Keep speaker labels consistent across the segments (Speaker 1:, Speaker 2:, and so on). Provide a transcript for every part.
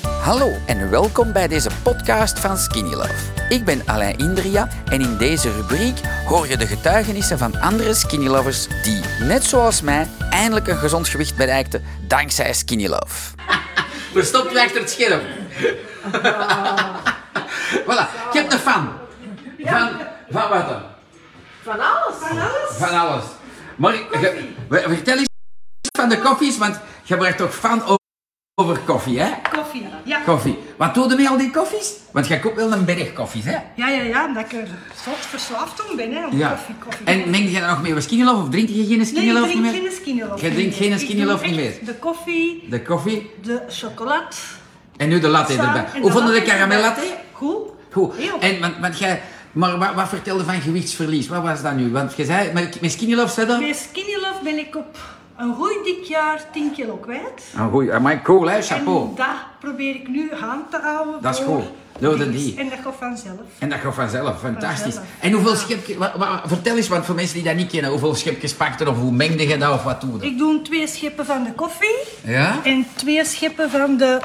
Speaker 1: Hallo en welkom bij deze podcast van Skinny Love. Ik ben Alain Indria en in deze rubriek hoor je de getuigenissen van andere Skinny Lovers die, net zoals mij, eindelijk een gezond gewicht bereikten dankzij Skinny Love. Verstopt achter het scherm. voilà, je hebt een fan. Van, van wat dan?
Speaker 2: Van alles. Van alles.
Speaker 1: Van alles. Maar ge- we- vertel eens van de koffies, want je bent toch fan o- over koffie, hè?
Speaker 2: Koffie. Ja.
Speaker 1: Koffie. Wat doe je met al die koffies? Want jij koopt wel een berg koffies, hè?
Speaker 2: Ja, ja, ja, omdat ik er soms verslaafd om ben, hè, om koffie, koffie.
Speaker 1: En meng jij dan nog meer skinny love of drink je geen
Speaker 2: nee,
Speaker 1: skinny
Speaker 2: ik
Speaker 1: love
Speaker 2: drink
Speaker 1: meer?
Speaker 2: geen skinny love.
Speaker 1: Jij drinkt geen skinny love niet meer.
Speaker 2: De koffie,
Speaker 1: De koffie
Speaker 2: de chocolade.
Speaker 1: en nu de latte
Speaker 2: Samen
Speaker 1: erbij.
Speaker 2: en
Speaker 1: Hoe vond je de
Speaker 2: latte
Speaker 1: caramel
Speaker 2: erbij.
Speaker 1: latte?
Speaker 2: Goed.
Speaker 1: Goed.
Speaker 2: Heel goed.
Speaker 1: En, want, want jij, maar wat, wat vertelde van gewichtsverlies? Wat was dat nu? Want je zei, met, met skinny love zei dat?
Speaker 2: Bij skinny love ben ik op een goed dik jaar 10 kilo kwijt.
Speaker 1: Een goeie, Ah, maar cool hè,
Speaker 2: En
Speaker 1: chapeau.
Speaker 2: dat probeer ik nu aan te houden.
Speaker 1: Dat is
Speaker 2: voor
Speaker 1: goed. Doe dat
Speaker 2: iets.
Speaker 1: die.
Speaker 2: En dat gaat vanzelf.
Speaker 1: En dat gaat vanzelf, fantastisch.
Speaker 2: Vanzelf.
Speaker 1: En hoeveel
Speaker 2: Ja.
Speaker 1: schepjes, wa- wa- vertel eens, want voor mensen die dat niet kennen, hoeveel schepjes pakten of hoe mengde je dat of wat doe je?
Speaker 2: Ik doe twee scheppen van de koffie
Speaker 1: Ja?
Speaker 2: en twee scheppen van de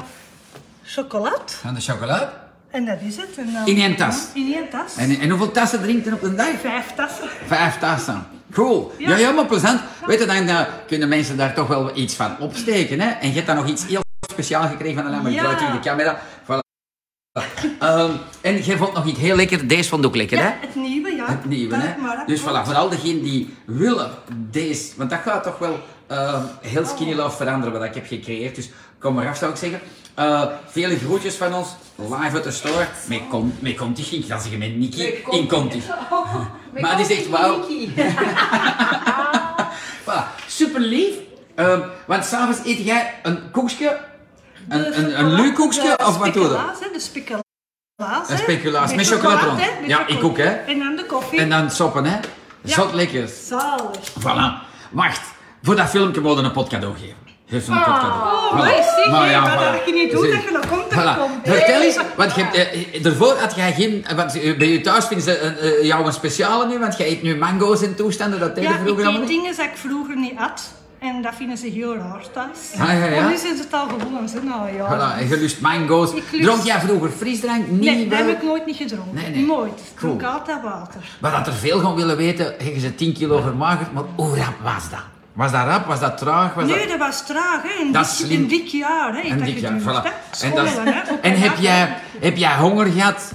Speaker 2: chocolade.
Speaker 1: Van de chocolade?
Speaker 2: En dat is het. En dan-
Speaker 1: In één tas?
Speaker 2: In één tas.
Speaker 1: En, en hoeveel tassen drinkt je op een dag?
Speaker 2: Vijf tassen.
Speaker 1: Vijf tassen. Cool. Ja,
Speaker 2: Ja.
Speaker 1: ja, maar plezant. Weet je, dan eh, kunnen mensen daar toch wel iets van opsteken. Hè? En je hebt dan nog iets heel speciaals gekregen van Alain, maar ik
Speaker 2: Ja.
Speaker 1: draai terug de camera. Voilà. Ehm, en jij vond nog iets heel lekker. Deze vond ik ook lekker,
Speaker 2: Ja,
Speaker 1: hè?
Speaker 2: het nieuwe, ja.
Speaker 1: Het nieuwe,
Speaker 2: Dat
Speaker 1: hè?
Speaker 2: maar, dat
Speaker 1: Dus
Speaker 2: klopt.
Speaker 1: voilà, vooral degenen die willen deze, want dat gaat toch wel ehm, heel skinny love veranderen wat ik heb gecreëerd. Dus kom maar af, zou ik zeggen. Eh, vele groetjes van ons, live uit de store. Met, con met Conti Gink, dat zeg je met Nikki in Conti. Maar het is echt wauw. Voilà, super lief. Ehm, want s'avonds eet jij een koekje, een, een, een leuk koekje
Speaker 2: De
Speaker 1: of wat doe je?
Speaker 2: speculaas, hè, De speculaas. hè.
Speaker 1: Een speculaas met chocolade
Speaker 2: chocolade,
Speaker 1: rond.
Speaker 2: hè, met
Speaker 1: Ja, ik
Speaker 2: chocolade.
Speaker 1: ook, hè.
Speaker 2: En dan de koffie.
Speaker 1: En dan soppen, hè?
Speaker 2: Ja.
Speaker 1: Zot lekkers.
Speaker 2: Zalig.
Speaker 1: Voilà. Wacht, voor dat filmpje moet je een potcadeau geven. Geef ze een potcadeau.
Speaker 2: Oh, maar zie, maar dat
Speaker 1: voilà.
Speaker 2: je niet doet,
Speaker 1: Zie.
Speaker 2: dat je nog komt, dat
Speaker 1: Voilà.
Speaker 2: komt.
Speaker 1: Vertel
Speaker 2: Hey.
Speaker 1: eens, want je hebt, eh, daarvoor had jij geen... eh, Want eh, bij je thuis vinden ze eh, eh, jou een speciale nu, want jij eet nu mango's en toestanden, dat deden
Speaker 2: Ja, ik
Speaker 1: vroeger allemaal
Speaker 2: deed
Speaker 1: niet.
Speaker 2: dingen die ik vroeger niet had. En dat vinden ze heel raar thuis.
Speaker 1: Ah, ja, ja.
Speaker 2: Maar nu zijn ze het al gewoon. Ze, nou ja.
Speaker 1: Voilà, en je lust mango's.
Speaker 2: Ik lust-
Speaker 1: Dronk jij vroeger frisdrank? Niet
Speaker 2: Nee, dat
Speaker 1: wel?
Speaker 2: heb ik nooit niet gedronken.
Speaker 1: Nee, nee.
Speaker 2: Nooit. Ik dronk
Speaker 1: Cool.
Speaker 2: altijd water.
Speaker 1: Maar dat er veel gaan willen weten, hebben ze 10 kilo vermagerd, maar hoe rap was dat? Was dat rap? Was dat traag? Was dat...
Speaker 2: Nee, dat was traag, hè? Een,
Speaker 1: Dat is
Speaker 2: dik,
Speaker 1: slim.
Speaker 2: een dik jaar, hè?
Speaker 1: En
Speaker 2: dat
Speaker 1: dik, ja,
Speaker 2: gedurfd,
Speaker 1: voilà.
Speaker 2: hè.
Speaker 1: En, dat-
Speaker 2: Schommelen, hè, op
Speaker 1: en
Speaker 2: een
Speaker 1: heb,
Speaker 2: dag.
Speaker 1: jij, heb jij honger gehad?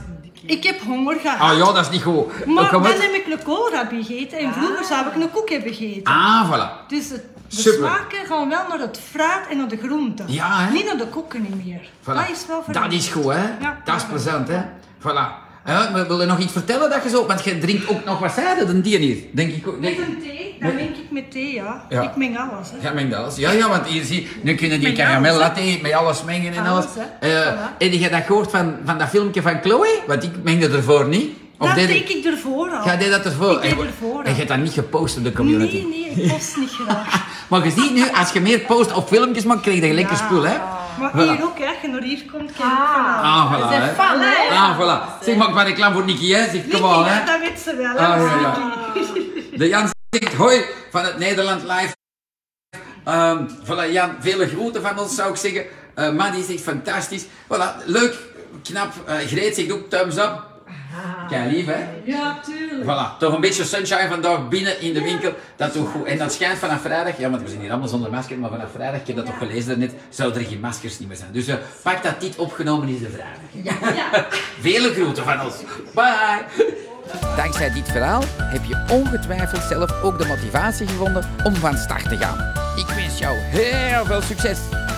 Speaker 2: Ik heb honger gehad.
Speaker 1: Ah ja, dat is niet goed.
Speaker 2: Maar
Speaker 1: Kom
Speaker 2: dan
Speaker 1: maar.
Speaker 2: heb ik een koolrabi gegeten en vroeger zou ik een koek hebben gegeten.
Speaker 1: Ah, voilà.
Speaker 2: Dus het, de
Speaker 1: Super.
Speaker 2: smaken gaan wel naar het fruit en naar de groenten.
Speaker 1: Ja, hè.
Speaker 2: Niet naar de koeken niet meer.
Speaker 1: voilà.
Speaker 2: Dat is wel
Speaker 1: Dat
Speaker 2: veranderd.
Speaker 1: is goed, hè?
Speaker 2: Ja.
Speaker 1: Dat is plezant, hè? Voilà. Ja, maar wil je nog iets vertellen dat je zo... Want je drinkt ook nog wat zijde, dan die hier. Denk ik ook.
Speaker 2: Met
Speaker 1: Nee.
Speaker 2: een thee, dan meng ik met thee, ja.
Speaker 1: Ja.
Speaker 2: Ik meng alles, hè.
Speaker 1: Ja, meng dat alles. Ja, ja, want hier zie je, nu kunnen die
Speaker 2: Met alles,
Speaker 1: caramel
Speaker 2: hè.
Speaker 1: latte met alles mengen en alles.
Speaker 2: Alles, hè.
Speaker 1: Eh,
Speaker 2: Voilà.
Speaker 1: Heb je dat gehoord van, van dat filmpje van Chloe? Want ik mengde ervoor niet.
Speaker 2: dat
Speaker 1: deed
Speaker 2: deed ik ervoor al.
Speaker 1: Jij deed dat ervoor.
Speaker 2: Ik deed
Speaker 1: En je-
Speaker 2: ervoor
Speaker 1: En
Speaker 2: al.
Speaker 1: je hebt dat niet gepost op de community. Ah,
Speaker 2: Nee, nee, ik post niet graag.
Speaker 1: Maar je ziet nu, als je meer post op filmpjes maakt, krijg je een lekker spul, hè?
Speaker 2: Maar
Speaker 1: Voilà.
Speaker 2: hier ook, hè. Als je naar hier komt, krijg je ook van alles.
Speaker 1: Ah, voilà,
Speaker 3: Ze
Speaker 1: hè.
Speaker 3: vallen, hè.
Speaker 1: Ah, voilà. Zeg, maak maar reclame voor Nicky, hè. Zeg, come
Speaker 2: Niet
Speaker 1: on,
Speaker 2: meer,
Speaker 1: hè.
Speaker 2: Dat weet ze wel.
Speaker 1: Ah,
Speaker 2: hè.
Speaker 1: ja, ja. De Jan zegt, hoi, van het Nederland Live. Ehm voilà, Jan, vele groeten van ons, zou ik zeggen. Eh Maddy zegt, fantastisch. Voilà, leuk, knap. Eh, Greet zegt ook, thumbs up. Kijk, lief, hè.
Speaker 3: Ja, tuurlijk.
Speaker 1: Voilà, toch een beetje sunshine vandaag binnen in de winkel. Dat doet goed. En dat schijnt vanaf vrijdag, ja, want we zijn hier allemaal zonder masker, maar vanaf vrijdag, ik heb dat toch gelezen net, zouden er geen maskers niet meer zijn. Dus eh, pak dat dit opgenomen is de vrijdag. Vele groeten van ons. Bye! Dankzij dit verhaal heb je ongetwijfeld zelf ook de motivatie gevonden om van start te gaan. Ik wens jou heel veel succes!